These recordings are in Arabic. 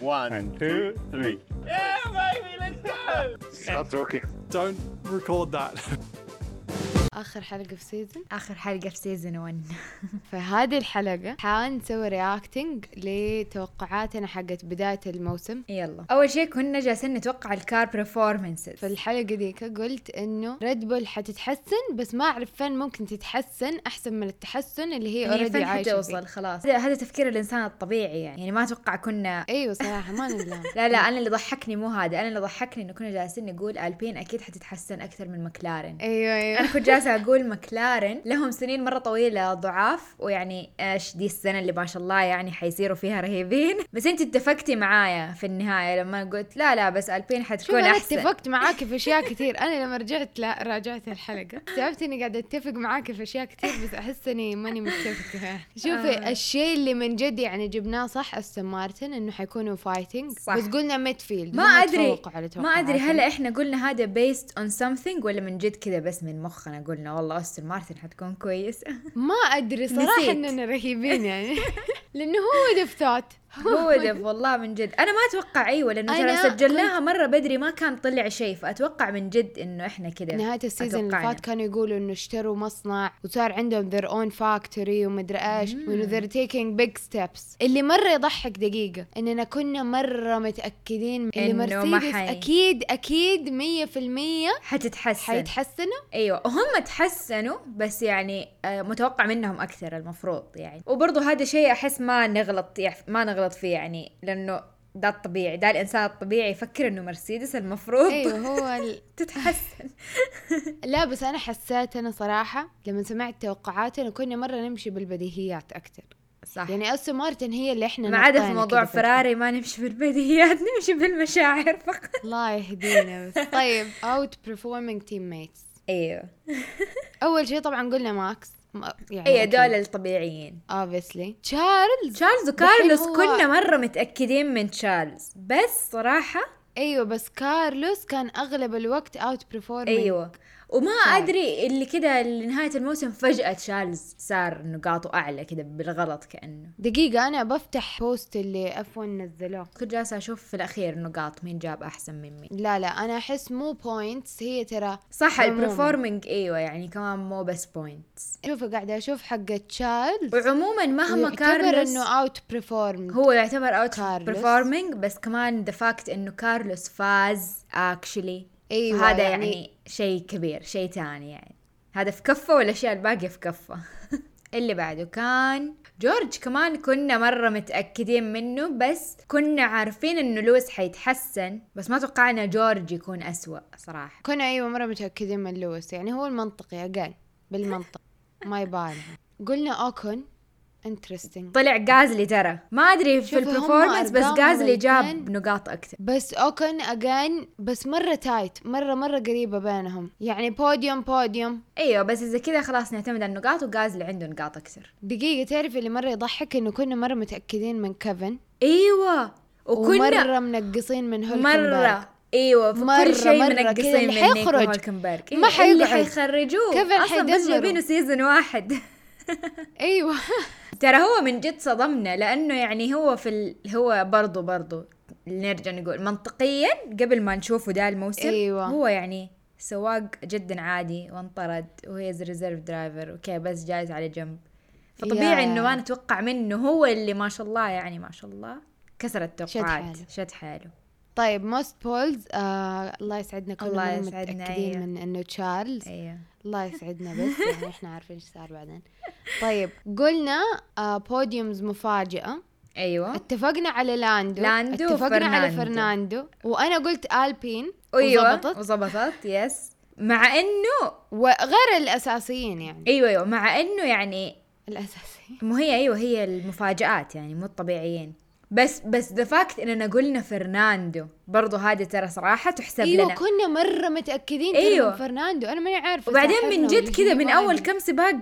One. And two, three. Yeah, baby, let's go. Stop talking. Don't record that. اخر حلقه في سيزون اخر حلقه في سيزون 1 فهذه الحلقه حنسوي رياكتنج لتوقعاتنا حقت بدايه الموسم يلا اول شيء كنا جالسين نتوقع الكار في برفورمنسز الحلقة ديك قلت انه ريد بول حتتحسن بس ما اعرف فين ممكن تتحسن احسن من التحسن اللي هي اوريدي فين عايشة فيه. حتوصل خلاص هذا هذا تفكير الانسان الطبيعي يعني يعني ما اتوقع كنا ايوه صراحة ما نلام لا لا انا اللي ضحكني مو هذا انا اللي ضحكني انه كنا جالسين نقول البين اكيد حتتحسن اكثر من مكلارن ايوه ايوه انا كنت جالسه اقول مكلارن لهم سنين مره طويله ضعاف ويعني ايش دي السنه اللي ما شاء الله يعني حيصيروا فيها رهيبين بس انت اتفقتي معايا في النهايه لما قلت لا لا بس البين شوف حتكون انا احسن اتفقت معاك في اشياء كثير انا لما رجعت لا راجعت الحلقه اكتشفت اني قاعده اتفق معاك في اشياء كثير بس احس اني ماني متفقه شوفي آه. الشيء اللي من جد يعني جبناه صح استون مارتن انه حيكونوا فايتنج صح. بس قلنا ميدفيلد ما هم ادري تفوقوا على ما ادري توقعاتنا. هل احنا قلنا هذا بيست اون something ولا من جد كذا بس من مخنا قلنا والله استون مارتن حتكون كويس ما ادري صراحه نسيت. اننا رهيبين يعني لانه هو دفتات هو ده والله من جد انا ما اتوقع ايوه لانه أنا ترى سجلناها مره بدري ما كان طلع شيء فاتوقع من جد انه احنا كذا نهاية السيزون اللي أتوقعنا. فات كانوا يقولوا انه اشتروا مصنع وصار عندهم their own factory ومدري ايش وانه they're taking big steps اللي مرة يضحك دقيقة اننا كنا مرة متأكدين اللي إنه ما مرسيدس حي- اكيد اكيد مية في المية حتتحسن حيتحسنوا ايوه هم تحسنوا بس يعني آه، متوقع منهم اكثر المفروض يعني وبرضه هذا شيء احس ما نغلط يع- ما نغلط فيه يعني لانه ده الطبيعي ده الانسان الطبيعي يفكر انه مرسيدس المفروض ايوه هو ال... تتحسن لا بس انا حسيت انا صراحة لما سمعت توقعاتنا كنا مرة نمشي بالبديهيات اكثر صح يعني استون مارتن هي اللي احنا ما عدا في نطينا موضوع كده فجأة. فراري ما نمشي بالبديهيات نمشي بالمشاعر فقط الله يهدينا بس طيب اوت performing teammates أيوه. ايوه اول شيء طبعا قلنا ماكس ما- يعني اي دول الطبيعيين اوبسلي تشارلز تشارلز دحين وكارلوس هو- كنا مره متاكدين من تشارلز بس صراحه ايوه بس كارلوس كان اغلب الوقت اوت برفورمينج ايوه وما تشارلز. ادري اللي كده لنهايه الموسم فجاه تشارلز صار نقاطه اعلى كده بالغلط كانه دقيقة أنا بفتح بوست اللي اف 1 نزلوه كنت جالسه اشوف في الاخير نقاط مين جاب احسن من مين لا لا أنا أحس مو بوينتس هي ترى صح عموماً. البرفورمينج ايوه يعني كمان مو بس بوينتس شوفي قاعدة أشوف حق تشارلز وعموما مهما يعتبر كارلوس إنه اوت برفورم هو يعتبر اوت كارلوس. برفورمينج بس كمان ذا فاكت انه كارلوس فاز اكشلي أيوة هذا يعني- يعني, يعني شيء كبير شيء تاني يعني هذا في كفه والاشياء الباقيه في كفه اللي بعده كان جورج كمان كنا مره متاكدين منه بس كنا عارفين انه لويس حيتحسن بس ما توقعنا جورج يكون أسوأ صراحه كنا أيوة مرة متأكدين من لويس يعني هو المنطقي أقل بالمنطق ما يبالها قلنا أوكن انترستنج طلع جازلي ترى ما ادري في شوفي هم البرفورمانس بس أرقامهم جازلي جاب الاثنين- نقاط اكثر بس اوكن اجان بس مره تايت مره مره قريبه بينهم يعني بوديوم بوديوم ايوه بس اذا كذا خلاص نعتمد على النقاط وجازلي عنده نقاط اكثر دقيقه تعرف اللي مره يضحك انه كنا مره متاكدين من كيفن ايوه وكنا ومره منقصين من هولكنبرغ مره ايوه في مرة- كل شيء مرة كذا منقصين اللي من حيخرج. نيكو هولكنبرغ ما إيه، اللي حيقعد. حيخرجوه كيفن اصلا بس حيدمره. جايبينه سيزون واحد ايوه ترى هو من جد صدمنا لانه يعني هو في ال... هو برضه برضه نرجع نقول منطقيا قبل ما نشوفه ده الموسم أيوة. هو يعني سواق جدا عادي وانطرد وهيز ريزيرف درايفر اوكي بس جايز على جنب فطبيعي يا. انه ما نتوقع منه هو اللي ما شاء الله يعني ما شاء الله كسر التوقعات حاله. شد حاله طيب موست بولز آه الله يسعدنا كلنا الله مرة يسعدنا، متاكدين أيوة. من انه تشارلز ايوه الله يسعدنا بس يعني احنا عارفين ايش صار بعدين طيب قلنا آه بوديومز مفاجئه ايوه اتفقنا على لاندو لاندو اتفقنا على وفرناندو. فرناندو وانا قلت البين ايوه وزبطت. وظبطت يس مع انه وغير الاساسيين يعني ايوه ايوه مع انه يعني الاساسيين مو هي ايوه هي المفاجآت يعني مو الطبيعيين بس بس ذا فاكت اننا قلنا فرناندو برضو هذا ترى صراحه تحسب ايوه لنا كنا مره متاكدين أيوة. ايوه من فرناندو انا ماني عارفه وبعدين ساحرنا من ولا جد كذا هي من ما اول أدري. كم سباق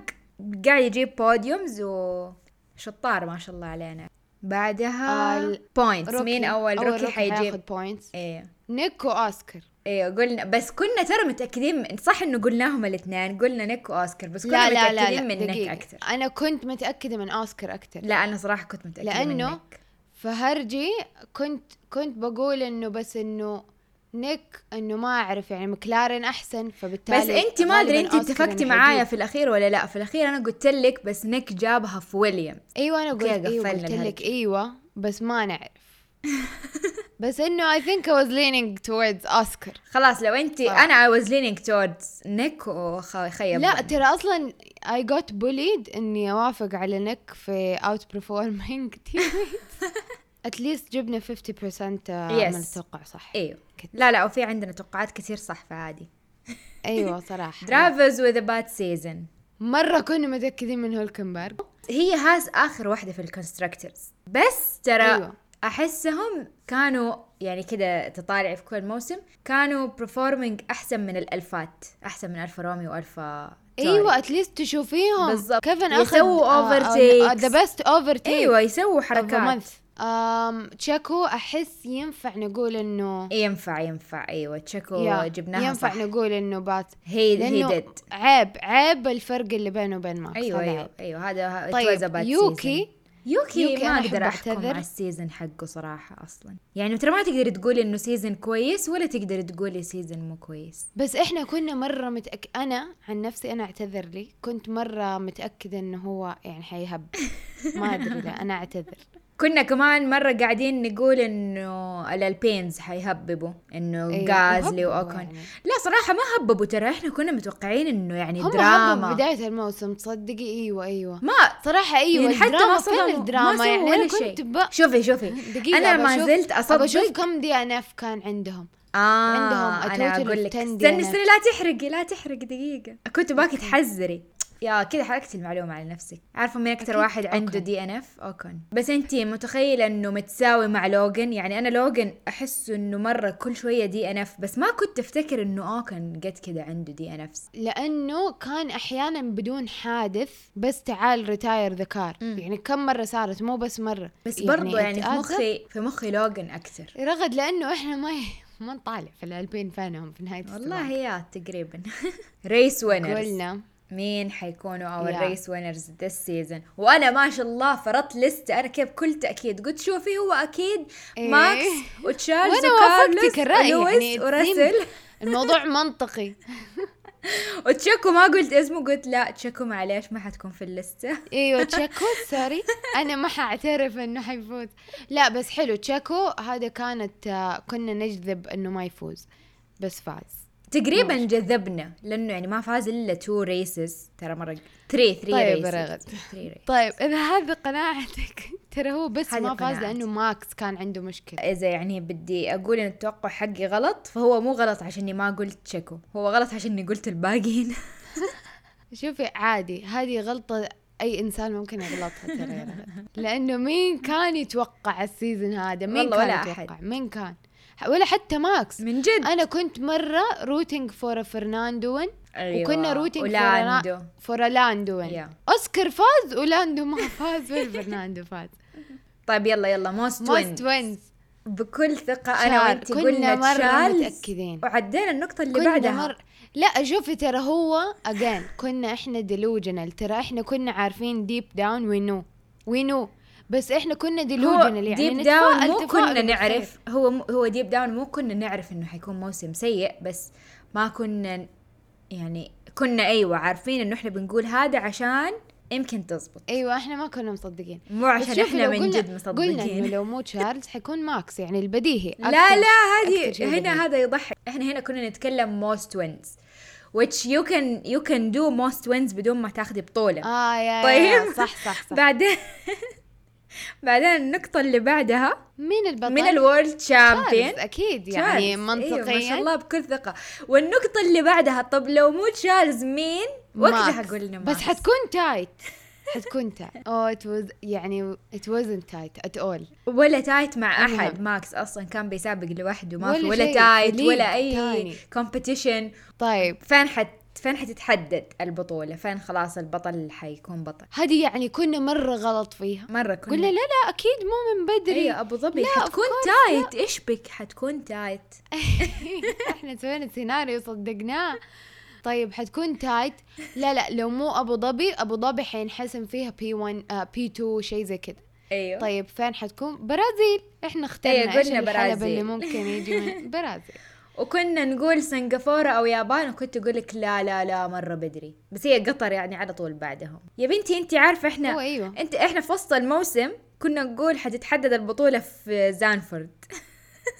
قاعد يجيب بوديومز وشطار ما شاء الله علينا بعدها آه، ال- بوينتس روكي. مين اول روكي حيجيب حياخد بوينتس ايوه نيك واوسكار ايوه قلنا بس كنا ترى متاكدين من صح انه قلناهم الاثنين قلنا نيك واوسكار بس كنا لا لا لا, متاكدين لا. من نيك دقيقة. اكثر انا كنت متاكده من اوسكار اكثر لا انا صراحه كنت متاكده لأنه من نيك فهرجي كنت كنت بقول انه بس انه نيك انه ما اعرف يعني مكلارن احسن فبالتالي بس انت ما ادري غالباً انت أوسكار اتفقتي إنه معايا حيجيب. في الاخير ولا لا في الاخير انا قلت لك بس نيك جابها في ويليام ايوه انا قلت أوكي، ايوه قفلنا قلت الهرج. لك ايوه بس ما نعرف بس انه I think I was leaning towards Oscar خلاص لو انت آه. انا I was leaning towards نيك وخيب لا ترى اصلا I got bullied اني اوافق على نيك في out performing teammates at least جبنا 50% Yes. من التوقع صح ايوه كت- لا لا وفي عندنا توقعات كثير صح فعادي ايوه صراحه درافرز with a bad season مره كنا متاكدين من هولكنبرغ هي هاس اخر واحده في الكونستراكترز بس ترى أيوة. أيوة. احسهم كانوا يعني كده تطالع في كل موسم كانوا performing احسن من الالفات احسن من الفا رومي والفا توري. ايوه اتليست تشوفيهم آه، بالضبط. كيفن اخذ يسووا overtakes. ذا بيست اوفر تيك ايوه يسووا حركات تشيكو احس Um, ينفع نقول انه ينفع ينفع ايوه تشيكو يا، جبناها ينفع صح نقول انه بات هي هي لانه ديد عيب عيب الفرق اللي بينه وبين ماكس ايوه هذا ايوه عيب. ايوه هذا it was طيب a bad season. يوكي يوكي, يوكي ما أنا أحب اقدر احكم أعتذر. على السيزون حقه صراحه اصلا يعني ترى ما تقدري تقولي انه سيزون كويس ولا تقدري تقولي سيزون مو كويس بس احنا كنا مره متأك... انا عن نفسي انا اعتذر لي كنت مره متاكده انه هو يعني حيهب ما ادري لا انا اعتذر كنا كمان مرة قاعدين نقول انه ال- البينز حيهببوا انه أيوة، غازلي هببوا واوكن يعني. لا صراحة ما هببوا ترى احنا كنا متوقعين انه يعني هم هبوا دراما بدايه الموسم تصدقي ايوه ايوه ما صراحة ايوه يعني حتى ما الدراما فين صدموا الدراما ما سووا يعني ولا انا كنت شيء ب... شوفي شوفي دقيقة انا أبى ما أشوف- زلت أبى أشوف اصدق كم دي ان اف كان عندهم آه عندهم انا a total اقول of لك 10 استني DNF. استني لا تحرقي لا تحرقي دقيقة كنت باكي تحذري يا كذا حركت المعلومة على نفسك عارفة مين أكثر أكيد واحد عنده أوكن. دي إن إف أوكن بس أنتي متخيلة إنه متساوي مع لوجن يعني أنا لوجن أحس إنه مرة كل شوية دي إن إف بس ما كنت أفتكر إنه أوكن قد كذا عنده دي إن إف لانه كان احيانا بدون حادث بس تعال ريتاير ذا كار مم. يعني كم مره صارت مو بس مره بس برضو يعني في it adds up. مخي في مخي لوجن أكثر رغد لانه احنا ما ما نطالع في الالبين فانهم في نهايه والله يا تقريبا ريس وينرز قلنا مين حيكونوا اور Yeah. ريس وينرز ذس سيزون وانا ما شاء الله فرطت لست انا كيف بكل تاكيد قلت شوفي هو اكيد إيه. ماكس وتشارلز وانا وكارلوس وافقتك الراي ولويس يعني it وراسل seemed- الموضوع منطقي وتشيكو ما قلت اسمه قلت لا تشيكو معليش ما حتكون في اللستة ايوه تشيكو سوري انا ما حاعترف انه حيفوز لا بس حلو تشيكو هذا كانت آه، كنا نجذب انه ما يفوز بس فاز تقريبا جذبنا لانه يعني ما فاز الا تو ريسز ترى مرة 3 3 طيب يا ريسز رغد. طيب اذا هذه قناعتك ترى هو بس هذه ما فاز قناعتي. لانه ماكس كان عنده مشكله اذا يعني بدي اقول ان التوقع حقي غلط فهو مو غلط عشان إني ما قلت تشيكو هو غلط عشان إني قلت الباقيين شوفي عادي هذه غلطه اي انسان ممكن يغلطها ترى يا رغد. لانه مين كان يتوقع السيزون هذا مين والله كان ولا يتوقع أحد. مين كان ولا حتى ماكس من جد انا كنت مره روتينج فور فرناندوين أيوة. وكنا روتينج ولاندو. فور فور لاندو Yeah. اوسكار فاز ولاندو ما فاز وفرناندو فاز طيب يلا يلا موست موست وين وينز بكل ثقة أنا شار. وأنت كنا قلنا مرة تشارلز متأكدين. وعدينا النقطة اللي كنا بعدها مر... لا شوفي ترى هو اجين كنا احنا ديلوجنال ترى احنا كنا عارفين ديب داون وي نو وي نو بس احنا كنا ديلوجنال يعني ديب نتفائل- داون مو تفاؤل كنا بالخير. نعرف هو م- هو ديب داون مو كنا نعرف إنه حيكون موسم سيء بس ما كنا يعني كنا أيوة عارفين إنه إحنا بنقول هذا عشان يمكن تزبط ايوه احنا ما كنا مصدقين مو بس عشان شوفي إحنا لو من قلنا- جد قلنا انه مصدقين لو مو تشارلز حيكون ماكس يعني البديهي لا أكتر- لا هذه أكتر شيء هنا بديهي. هذا يضحك احنا هنا كنا نتكلم موست وينز which you can you can do most wins بدون ما تاخذي بطولة اه يا طيب. طيب صح صح صح بعدين بعدين النقطة اللي بعدها مين البطل؟ من الورلد تشارلز شامبيون إيه، اكيد طيب. يعني منطقيا ما شاء الله بكل ثقة والنقطة اللي بعدها طب لو مو تشارلز مين؟ وقتها ماكس. قلنا بس حتكون تايت حتكون تايت او ات واز يعني ات wasn't تايت ات اول ولا تايت مع أيوة. احد ماكس اصلا كان بيسابق لوحده ما ولا في ولا شيء، تايت ليج ولا اي تاني. كومبيتيشن طيب فين حت فين حتتحدد البطولة؟ فين خلاص البطل حيكون بطل؟ هذه يعني كنا مره غلط فيها مرة كنا قلنا لا لا اكيد مو من بدري ايوه ابو ظبي لا، حتكون of course، تايت ايش بك حتكون تايت احنا سوينا سيناريو صدقناه طيب حتكون تايت لا لا لو مو ابو ظبي ابو ظبي حينحسم فيها بي 1 بي 2 آه، شيء زي كذا ايوه طيب فين حتكون برازيل احنا إيه، اخترنا قلنا ايش الحلب برازيل. اللي ممكن يجي من برازيل وكنا نقول سنغافورة أو يابان وكنت أقول لك لا لا لا مرة بدري بس هي قطر يعني على طول بعدهم يا بنتي أنت عارفة إحنا هو أيوة. أنت إحنا في وسط الموسم كنا نقول حتتحدد البطولة في زانفورد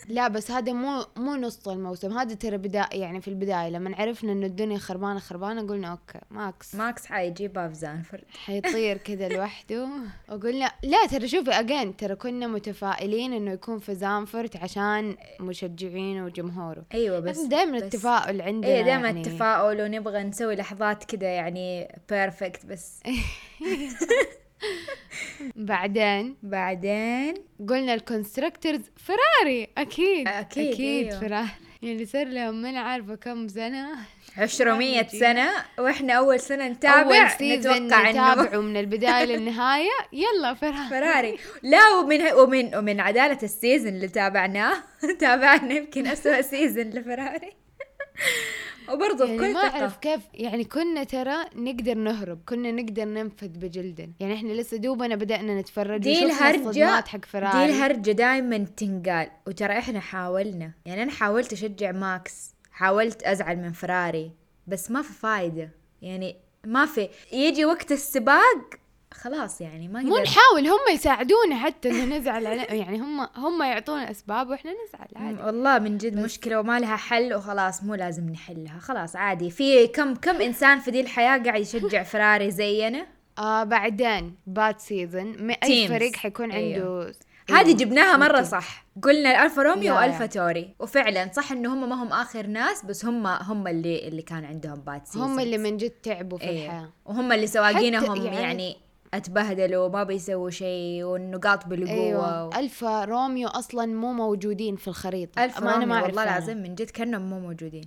لا بس هذا مو مو نص الموسم هذا ترى بداية يعني في البداية لما عرفنا انه الدنيا خربانة خربانة قلنا اوكي ماكس ماكس حيجيبها في زانفورد حيطير كذا لوحده وقلنا لا ترى شوفي اجين ترى كنا متفائلين انه يكون في زانفورت عشان مشجعينه وجمهوره أيوة بس بس دائما بس- التفاؤل عندنا ايه دائما يعني. التفاؤل ونبغى نسوي لحظات كده يعني بيرفكت بس إيه. بعدين بعدين قلنا الكونستراكترز فراري اكيد أكيد، اكيد أيوه. فراري يعني صار لهم من عارفه كم سنه عشرة مية سنة واحنا أول سنة اول نتابع سيزون نتوقع إنه نتابعه من البدايه للنهايه يلا فراري فراري لا ومن ومن ومن عدالة السيزن اللي تابعناه تابعنا يمكن أسوأ سيزن لفراري وبرضه يعني بكل ما اعرف ثقة كيف يعني كنا ترى نقدر نهرب كنا نقدر ننفذ بجلدنا يعني احنا لسه دوبنا بدأنا نتفرج دي وشفنا الهرجة الصدمات حق دي فراري الهرجة دائما تنقال وترى احنا حاولنا يعني أنا حاولت أشجع ماكس حاولت أزعل من فراري بس ما في فايدة يعني ما في يجي وقت السباق خلاص يعني ما مو أقدر نحاول هم يساعدونا حتى انه نزعل على يعني هم هم يعطونا اسباب واحنا نزعل عادي مم، والله من جد مشكلة وما لها حل وخلاص مو لازم نحلها خلاص عادي في كم كم إنسان في دي الحياة قاعد يشجع فراري زينا آه بعدين باد سيزون اي Teams. فريق حيكون عنده إيه. أيوه. هذه جبناها مرة صح قلنا الألفا روميو لا. والفا توري وفعلا صح إنه هم ما هم آخر ناس بس هم هم اللي اللي كان عندهم باد سيزون هم اللي من جد تعبوا في أيوه. الحياة وهم اللي سواقينهم حتى يعني, يعني- يعني اتبهدلوا وما بيسووا شيء والنقاط بالقوة و... ايوه الفا روميو اصلا مو موجودين في الخريطة ألفا ما روميو انا ما والله أعرف عنهم. العظيم من جد كأنهم مو موجودين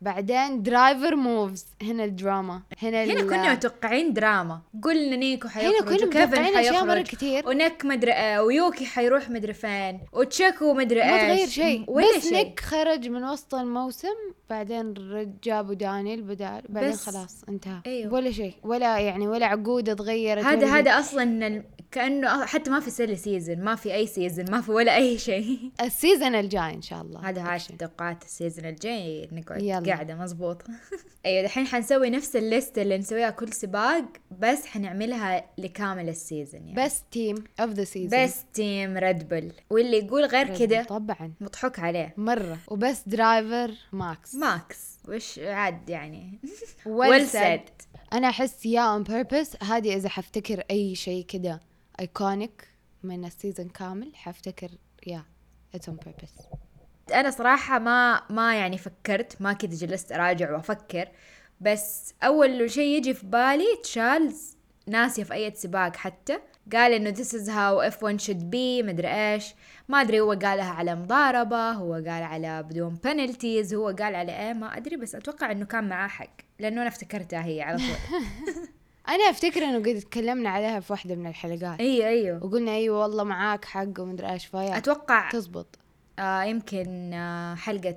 بعدين درايفر موفز هنا الدراما هنا هنا ال- كنا متوقعين دراما قلنا نيكو حيخرج كنا وكيفن متوقعين أشياء حيخرج مرة كتير. ونك مدري آه، ويوكي حيروح مدري فين وتشيكو مدري ايش ما تغير شيء ولا بس شيء. نيك خرج من وسط الموسم بعدين رد- جابوا دانيل بدال بعدين بس. خلاص انتهى أيوه. ولا شيء ولا يعني ولا عقودة تغيرت هذا ولا شيء. هذا اصلا ال- كانه حتى ما في سله سيزن ما في اي سيزن ما في ولا اي شيء السيزون الجاي ان شاء الله هذا هاش Action. توقعات السيزن الجاي نقعد يلا. قاعده مزبوطه ايوه دحين حنسوي نفس الليست اللي نسويها كل سباق بس حنعملها لكامل السيزن يعني بس تيم اوف ذا سيزون بس تيم ريد بل واللي يقول غير كده طبعا مضحوك عليه مرة وبس درايفر ماكس ماكس وش عاد يعني well said. انا احس يا اون purpose هذه اذا حفتكر اي شيء كده ايكونيك من السيزون كامل حفتكر يا اتس اون purpose انا صراحه ما ما يعني فكرت ما كنت جلست اراجع وافكر بس اول شيء يجي في بالي تشارلز ناسي في اي سباق حتى قال انه this is how F1 should be مدري ايش ما ادري هو قالها على مضاربة هو قال على بدون penalties هو قال على ايه ما ادري بس اتوقع انه كان معاه حق لانه انا افتكرتها هي على طول انا افتكر انه قد تكلمنا عليها في واحدة من الحلقات ايوه ايوه وقلنا ايوه والله معاك حق ومدري ايش فيا اتوقع تزبط آه يمكن آه حلقة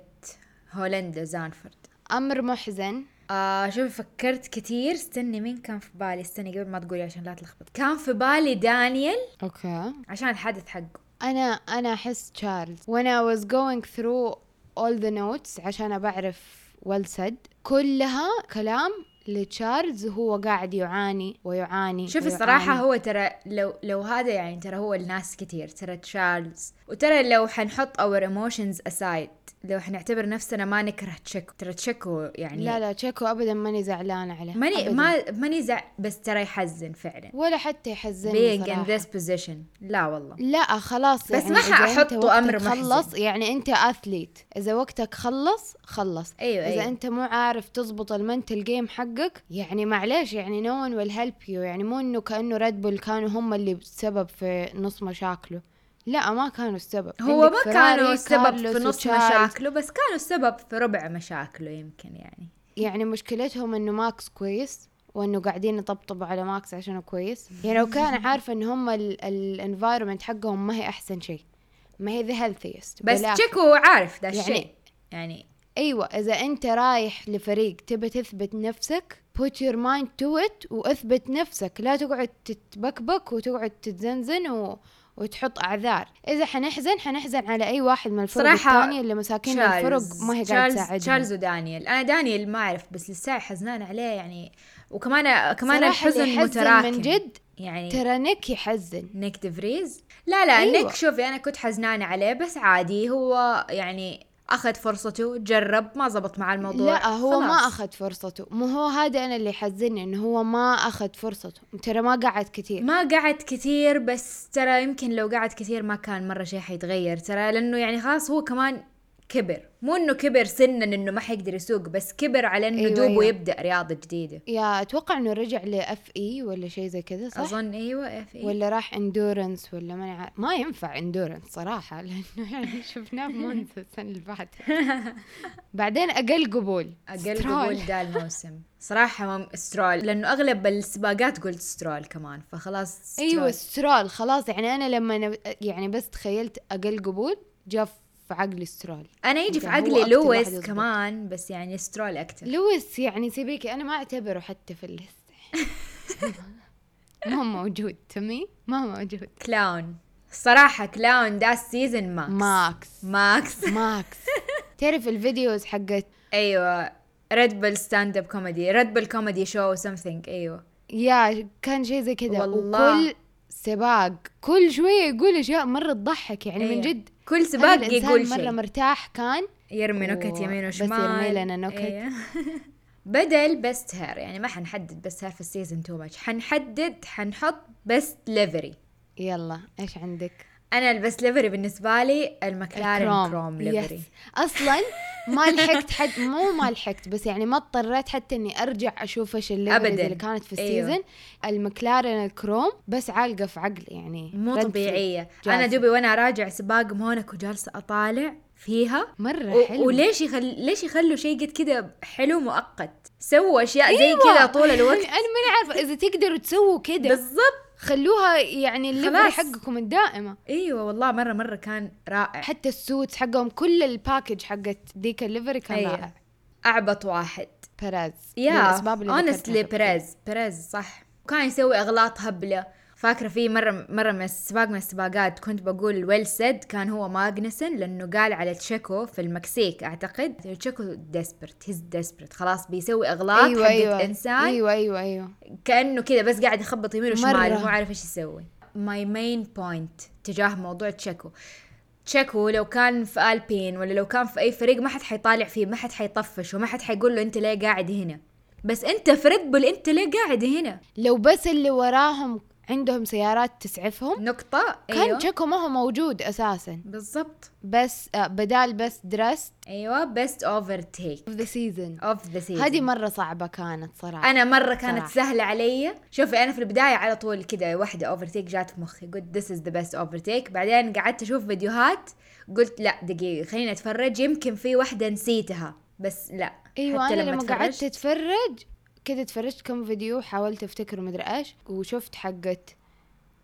هولندا زانفورد امر محزن آه شوفي فكرت كتير استني مين كان في بالي استني قبل ما تقولي عشان لا تلخبط كان في بالي دانيال اوكي عشان الحدث حقه انا انا احس تشارلز وانا was going through all the notes عشان أبى اعرف والسد كلها كلام لتشارلز وهو قاعد يعاني ويعاني شوفي ويعاني. الصراحة هو ترى لو لو هذا يعني ترى هو الناس كتير ترى تشارلز وترى لو حنحط اور ايموشنز اسايد لو حنعتبر نفسنا ما نكره تشيكو ترى تشيكو يعني لا لا تشيكو ابدا ماني زعلانه عليه ماني أبداً. ما ماني زع بس ترى يحزن فعلا ولا حتى يحزنني being in صراحة this position لا والله لا خلاص يعني بس ما إذا أنت حأحطه وقتك أمر محزن. خلص يعني انت اثليت اذا وقتك خلص خلص أيوة، اذا أيوة. انت مو عارف تزبط المنتل جيم حقك يعني معليش يعني نو ون ويل هيلب يو يعني مو انه كانه ريد بول كانوا هم اللي السبب في نص مشاكله لا ما كانوا السبب هو عندك ما فيراري، كانوا السبب كارلوس في نص وتشارلز. مشاكله بس كانوا السبب في ربع مشاكله يمكن يعني يعني مشكلتهم انه ماكس كويس وانه قاعدين يطبطبوا على ماكس عشانه كويس يعني لو كان عارف ان هم الانفايرمنت حقهم ما هي احسن شيء ما هي ذا هيلثيست بس تشيكو عارف ده يعني- الشيء يعني أيوة، ايوه اذا انت رايح لفريق تبي تثبت نفسك put your mind to it واثبت نفسك لا تقعد تتبكبك وتقعد تتزنزن و... وتحط اعذار اذا حنحزن حنحزن على اي واحد من الفرق صراحة الثانية اللي مساكين الفرق ما هي قاعده تشارلز, تساعدهم تشارلز ودانيال انا دانيال ما اعرف بس لسه حزنان عليه يعني وكمان كمان صراحة اللي الحزن يحزن متراكم من جد يعني ترى نيك يحزن نيك دفريز لا لا أيوة. أيوة. نيك شوفي انا كنت حزنانه عليه بس عادي هو يعني اخذ فرصته جرب ما زبط مع الموضوع لا هو ما خلاص. اخذ فرصته مو هو هذا انا اللي يحزنني انه هو ما اخذ فرصته ترى ما قعد كثير ما قعد كثير بس ترى يمكن لو قعد كثير ما كان مرة شيء حيتغير ترى لأنه يعني خلاص هو كمان كبر مو انه كبر سنا انه ما حيقدر يسوق بس كبر على انه أيوة، دوبه أيوة. يبدا رياضه جديده يا اتوقع انه رجع لاف اي ولا شيء زي كذا صح اظن ايوه اف اي ولا راح اندورنس ولا ما أنا عارف- ما ينفع اندورنس صراحه لانه يعني شفناه مونزا السنه اللي بعدها بعدين اقل قبول اقل سترول. قبول ده الموسم صراحه مم سترول لانه اغلب السباقات قلت سترول كمان فخلاص سترول. ايوه سترول خلاص يعني انا لما نب... يعني بس تخيلت اقل قبول جاء في عقلي سترول انا يجي في يمكن يعني هو عقلي أكتر واحد لويس يضبط. كمان بس يعني سترول اكثر لويس يعني سيبيكي انا ما اعتبره حتى في اللسته ما هو موجود تمي ما هو موجود كلاون صراحه كلاون ده السيزون ماكس ماكس ماكس ماكس تعرف الفيديوز حقت ايوه ريد بل ستاند اب كوميدي ريد بل كوميدي شو سمثينج ايوه يا كان شيء زي كذا والله. وكل سباق كل شويه يقول اشياء مره تضحك يعني من أيوة. جد كل هذا سباق الإنسان يقول مره شيء مرتاح كان يرمي نكت و- يمين بس وشمال يرمي لنا نكت. أيوة. بدل بيست هير يعني ما حنحدد بيست هير في السيزون تو ماتش حنحدد حنحط بيست ليفري يلا ايش عندك انا البست ليفري بالنسبه لي المكلارن كروم ليفري يس اصلا ما لحقت حد مو ما لحقت بس يعني ما اضطريت حتى اني ارجع اشوف ايش الليفرز أبداً. اللي كانت في أيوة. السيزون أيوه. المكلارن الكروم بس عالقه في عقلي يعني مو رد في- طبيعيه جالسة. انا دوبي وانا راجع سباق مونك وجالسه اطالع فيها مره و- حلو وليش يخل... ليش يخلوا شيء قد كذا حلو مؤقت سووا اشياء زي أيوة. كذا طول الوقت انا ماني عارفه اذا تقدروا تسووا كذا بالضبط خلوها يعني الليفري خلاص. حقكم الدائمه ايوه والله مره مره كان رائع حتى السوتس حقهم كل الباكج حقت ديك الليفري كان أيوة. رائع اعبط واحد بيريز يا للأسباب اللي ذكرتها اونستلي قبل كده. بريز بريز صح وكان يسوي اغلاط هبله فاكره في مره مره من السباق من السباقات كنت بقول ويل سيد كان هو ماجنسن لانه قال على تشيكو في المكسيك اعتقد تشيكو ديسبرت هيز ديسبرت خلاص بيسوي اغلاط ايوه حقت ايوه انسان ايوه ايوه ايوه كانه كذا بس قاعد يخبط يمين وشمال مرة. مو عارف ايش يسوي ماي مين بوينت تجاه موضوع تشيكو تشيكو لو كان في البين ولا لو كان في اي فريق ما حد حيطالع فيه ما حد حيطفش وما حد حيقول له انت ليه قاعد هنا بس انت في ريد بول انت ليه قاعد هنا لو بس اللي وراهم عندهم سيارات تسعفهم نقطة كان ايوه تشيكو ما هو موجود اساسا بالضبط بس آه، بدال بس درست ايوه بيست اوفر تيك اوف ذا سيزون اوف ذا سيزون هذه مره صعبه كانت صراحه انا مره كانت صراحة. سهله علي شوفي انا في البدايه على طول كده واحده اوفرتيك جات في مخي قلت ذس از ذا بيست اوفرتيك بعدين قعدت اشوف فيديوهات قلت لا دقيقه خليني اتفرج يمكن في واحده نسيتها بس لا ايوه حتى انا لما قعدت تفرجت- اتفرج كذا اتفرجت كم فيديو حاولت افتكر مدري ايش وشفت حقت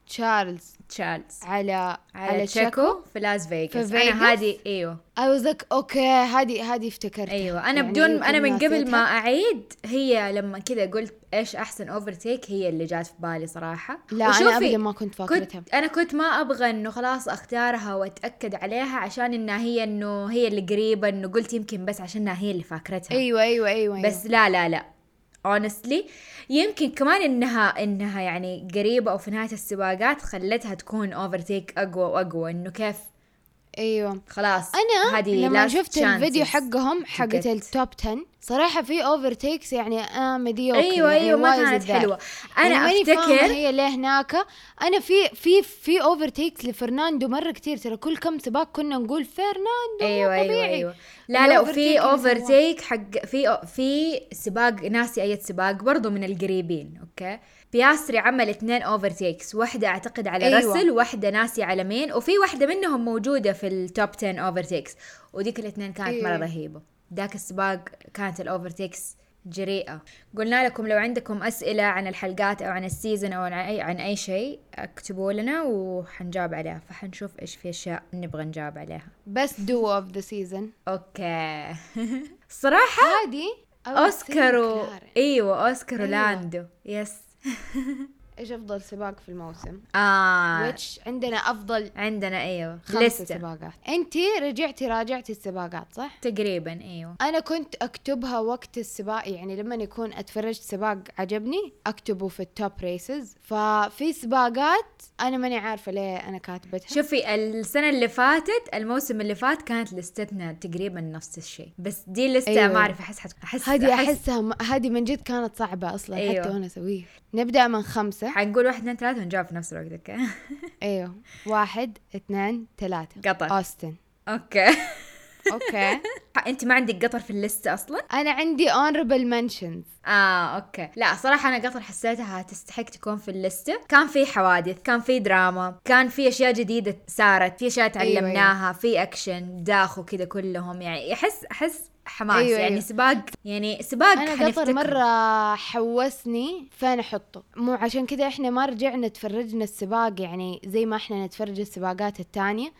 تشارلز تشارلز على على, على تشيكو في لاس فيغاس في انا فيغاس. هذه ايوه اي واز لايك اوكي هذه هذه افتكرتها ايوه انا يعني بدون يمكن انا من قبل ما ناسيتها. اعيد هي لما كذا قلت ايش احسن اوفرتيك هي اللي جات في بالي صراحه لا انا وشوفي، ابدا ما كنت فاكرتها كنت انا كنت ما ابغى انه خلاص اختارها واتاكد عليها عشان انها هي انه هي اللي قريبه انه قلت يمكن بس عشانها هي اللي فاكرتها ايوه ايوه ايوه أيوة. بس لا لا لا اونستلي يمكن كمان انها انها يعني قريبه او في نهايه السباقات خلتها تكون اوفرتيك اقوى واقوى انه كيف ايوه خلاص انا هذه لما last شفت الفيديو chances. حقهم get. حقت التوب 10 صراحه في اوفر تيكس يعني اه مديوكر ايوه يعني ايوه ما why is كانت it that؟ حلوه انا يعني ماني فاهمة افتكر هي ليه هناك انا في في في اوفر تيكس لفرناندو مره كتير ترى كل كم سباق كنا نقول فرناندو ايوه طبيعي ايوه ايوه لا لا الأوفرتيك وفي اللي اوفر سواه. تيك حق في في سباق ناسي اي سباق برضو من القريبين اوكي بياسري عمل اثنين اوفر تيكس واحده اعتقد على أيوة. أيوة. رسل واحده ناسي على مين وفي واحده منهم موجوده في التوب 10 اوفر تيكس وديك الاثنين كانت أيوة. أيوة. مره رهيبه ذاك السباق كانت الاوفر تيكس جريئة قلنا لكم لو عندكم أسئلة عن الحلقات أو عن السيزن أو عن أي عن أي شيء اكتبوا لنا وحنجاوب عليها فحنشوف إيش في أشياء نبغى نجاوب عليها بس دو اوف ذا سيزون Oh, اوكي صراحة هذه اوسكار و... Clarence. ايوه اوسكار أيوة. ولاندو يس ايش افضل سباق في الموسم؟ اه ويتش عندنا افضل عندنا ايوه خمسة لستة سباقات انت رجعتي راجعتي السباقات صح؟ تقريبا ايوه انا كنت اكتبها وقت السباق يعني لما يكون اتفرجت سباق عجبني اكتبه في التوب ريسز ففي سباقات انا ماني عارفه ليه انا كاتبتها شوفي السنة اللي فاتت الموسم اللي فات كانت لستتنا تقريبا نفس الشيء بس دي لستة أيوة. ما اعرف احس حت- احس هذه احسها م- هذه من جد كانت صعبه اصلا أيوه. أيوة. حتى وانا اسويها نبدا من خمسه حنقول واحد اثنين ثلاثة ونجاوب في نفس الوقت اوكي ايوه واحد اثنين ثلاثه قطر. اوستن اوكي اوكي انت ما عندك قطر في اللستة اصلا؟ انا عندي اونربل منشنز اه اوكي لا صراحه انا قطر حسيتها تستحق تكون في اللستة كان في حوادث كان في دراما كان في اشياء جديده صارت في اشياء أيوة، تعلمناها في اكشن داخوا كذا كلهم يعني احس احس حماس أيوة، أيوة يعني أيوة. أيوة. سباق يعني سباق انا قطر حنفتكره. مره حوسني فين احطه مو عشان كذا احنا ما رجعنا تفرجنا السباق يعني زي ما احنا نتفرج السباقات التانية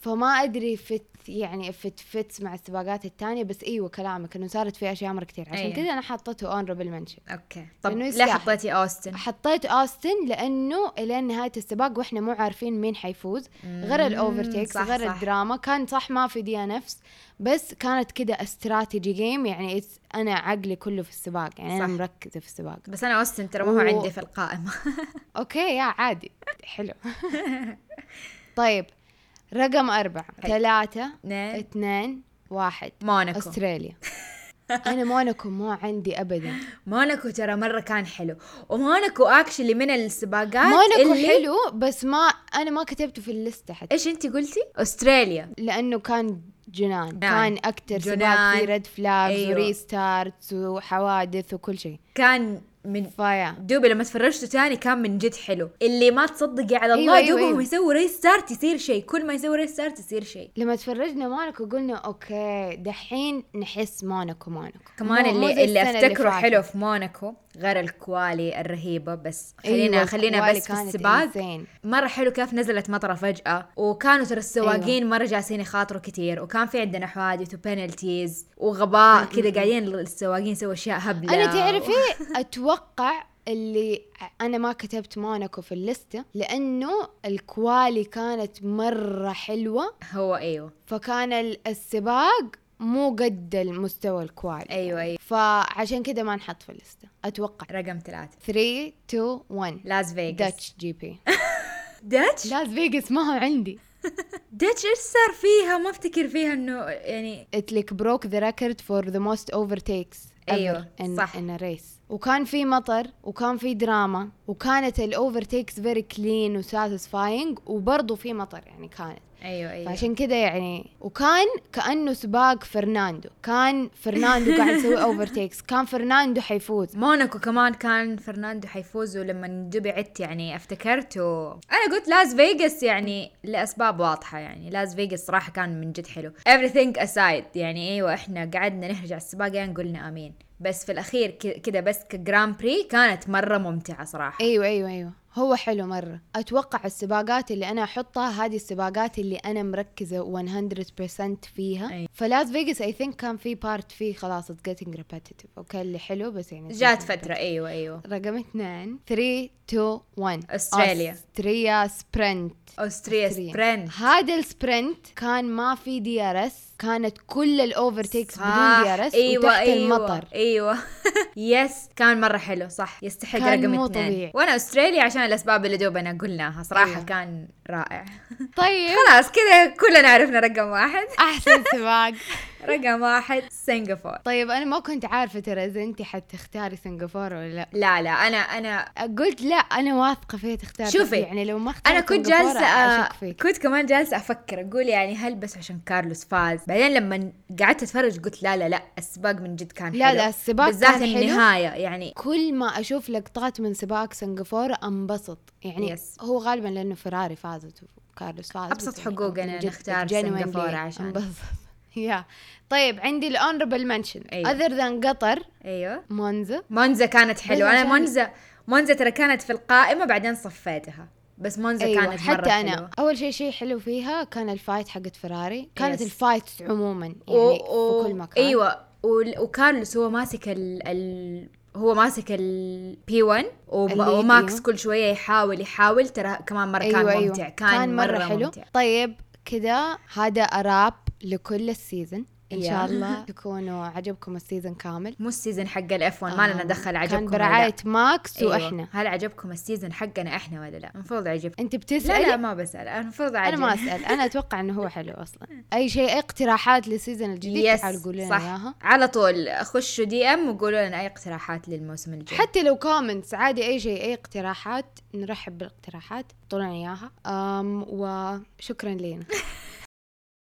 فما ادري فت يعني فت فتس مع السباقات التانية بس ايوه كلامك انه صارت في اشياء مره كثير عشان أيوة. كذا انا حطته اونربل منشن اوكي طب لأنه ليه يستاهل. حطيتي اوستن حطيت اوستن لانه الى نهايه السباق واحنا مو عارفين مين حيفوز غير الاوفرتيكس صح، غير صح. الدراما كان صح ما في دي نفس بس كانت كده استراتيجي جيم يعني it's- انا عقلي كله في السباق يعني انا صح. مركزه في السباق بس انا اوستن ترى ما هو و- عندي في القائمه اوكي يا عادي حلو طيب رقم أربعة حلو. ثلاثة اثنين اثنين واحد موناكو استراليا انا مونكو ما عندي ابدا موناكو ترى مره كان حلو وموناكو اكشلي من السباقات مونكو اللي حلو بس ما انا ما كتبته في الليسته حتى ايش انت قلتي استراليا لانه كان جنان نعم. كان اكتر سباق جنان. فيه ريد فلاجز أيوة. أيوه. وريستارتس وحوادث وكل شيء كان من فيا دوبي لما تفرجته تاني كان من جد حلو اللي ما تصدقي على الله أيوة، أيوة، دوبهم أيوة. يسوي ريس ستارت يصير شيء كل ما يسوي ريس ستارت يصير شيء لما تفرجنا مونكو قلنا اوكي دحين نحس مونكو مونكو كمان مو- مو زي اللي اللي السنة افتكره فاتت. حلو في موناكو غير الكوالي الرهيبه بس خلينا أيوة، أيوة خلينا الكوالي بس في كانت السباق insane. مره حلو كيف نزلت مطره فجاه وكانوا ترى السواقين أيوة. مره جالسين يخاطروا كتير وكان في عندنا حوادث وبنالتيز وغباء أيوة. كذا قاعدين السواقين يسووا اشياء هبله انا تعرفي اتوقع اللي انا ما كتبت مونكو في الليسته لانه الكوالي كانت مره حلوه هو ايوه فكان ال- السباق مو قد المستوى الكوالي ايوه ايوه فعشان كذا ما نحط في الليسته اتوقع رقم ثلاثه 3 2 1 لاس فيغاس داتش جي بي داتش لاس فيغاس ما هو عندي ديتش ايش صار فيها ما افتكر فيها انه يعني it like broke the record for the most overtakes ever أيوة، in, صح. in a race وكان في مطر وكان في دراما وكانت الاوفرتيكس فيري كلين وساتيسفاينج وبرضه في مطر يعني كانت ايوه ايوه فعشان كذا يعني وكان كانه سباق فرناندو كان فرناندو قاعد يسوي اوفرتيكس كان فرناندو حيفوز موناكو كمان كان فرناندو حيفوز ولما دوبي عدت يعني افتكرت و... انا قلت لاس فيغاس يعني لاسباب واضحه يعني لاس فيغاس صراحه كان من جد حلو everything aside يعني ايوه احنا قعدنا نرجع السباق يعني قلنا امين بس في الاخير ك- كذا بس كجران بري كانت مره ممتعه صراحه ايوه ايوه ايوه هو حلو مرة أتوقع السباقات اللي أنا أحطها هذه السباقات اللي أنا مركزة 100% فيها أي. فلاس فيغاس أي ثينك كان في بارت فيه خلاص it's getting repetitive أوكي اللي حلو بس يعني it's جات getting فتره ايوه ايوه repetitive. رقم اثنين 3 2 1 أستراليا. أستريا سبرنت اوستريا أستريا. سبرنت هذا السبرنت كان ما في دي ار اس كانت كل الاوفرتيكس بدون دي ار اس أيوة وتحت أيوة المطر ايوه يس كان مره حلو صح يستحق كان رقم مو اثنين طبيعي. وانا استراليا عشان الاسباب اللي دوبنا قلناها صراحه أيوة. أيوة. كان رائع طيب خلاص كذا كلنا عرفنا رقم واحد أحسن سباق رقم واحد سنغافور طيب انا ما كنت عارفه ترى اذا انت حتختاري سنغافوره ولا لا لا لا انا انا قلت لا انا واثقه فيها تختاري شوفي، يعني لو ما اخترت انا كنت سنغافورة جالسه أشك آه، فيك كنت كمان جالسه افكر اقول يعني هل بس عشان كارلوس فاز بعدين لما قعدت اتفرج قلت لا لا لا السباق من جد كان لا، حلو لا، السباق بالذات كان حلو. النهايه يعني كل ما اشوف لقطات من سباق سنغافوره انبسط يعني Yes. هو غالبا لانه فراري فازت وكارلوس فاز أبسط بس يعني حقوقنا من إن جد نختار genuinely سنغافورة عشان. انبسط يا طيب عندي الاونربل منشن أيوة. اذر ذان قطر ايوه مونزا مونزا كانت حلوة أنا عشان- مونزا مونزا ترى كانت في القائمة بعدين صفيتها بس مونزا أيوة كانت مرة أيوه، حتى انا حلوة. اول شيء شيء حلو فيها كان الفايت حقت فراري كانت Yes. الفايت عموما يعني و- و- في كل مكان أيوة وال- وكارلوس هو ماسك ال, ال... هو ماسك البي 1 الليد، وماكس أيوه. كل شويه يحاول يحاول ترى كمان مره أيوة، كان ممتع كان, مره, حلو ممتع طيب كذا هذا اراب لكل السيزن ان شاء يا. الله تكونوا عجبكم السيزن كامل مو السيزون حق الاف 1 ما لنا دخل عجبكم آه، كان ولا لا. برعاية ماكس أيوة. واحنا هل عجبكم السيزون حقنا احنا ولا لا المفروض يعجبكم انت بتسألي لا لا ما بسال أنا المفروض انا عجبني ما اسال انا اتوقع انه هو حلو اصلا اي شيء اي اقتراحات للسيزون الجديد يس تعالوا قولوا لنا صح اياها على طول خشوا دي ام وقولوا لنا اي اقتراحات للموسم الجاي حتى لو كومنتس عادي اي شيء اي اقتراحات نرحب بالاقتراحات طلعنا اياها أم وشكرا لينا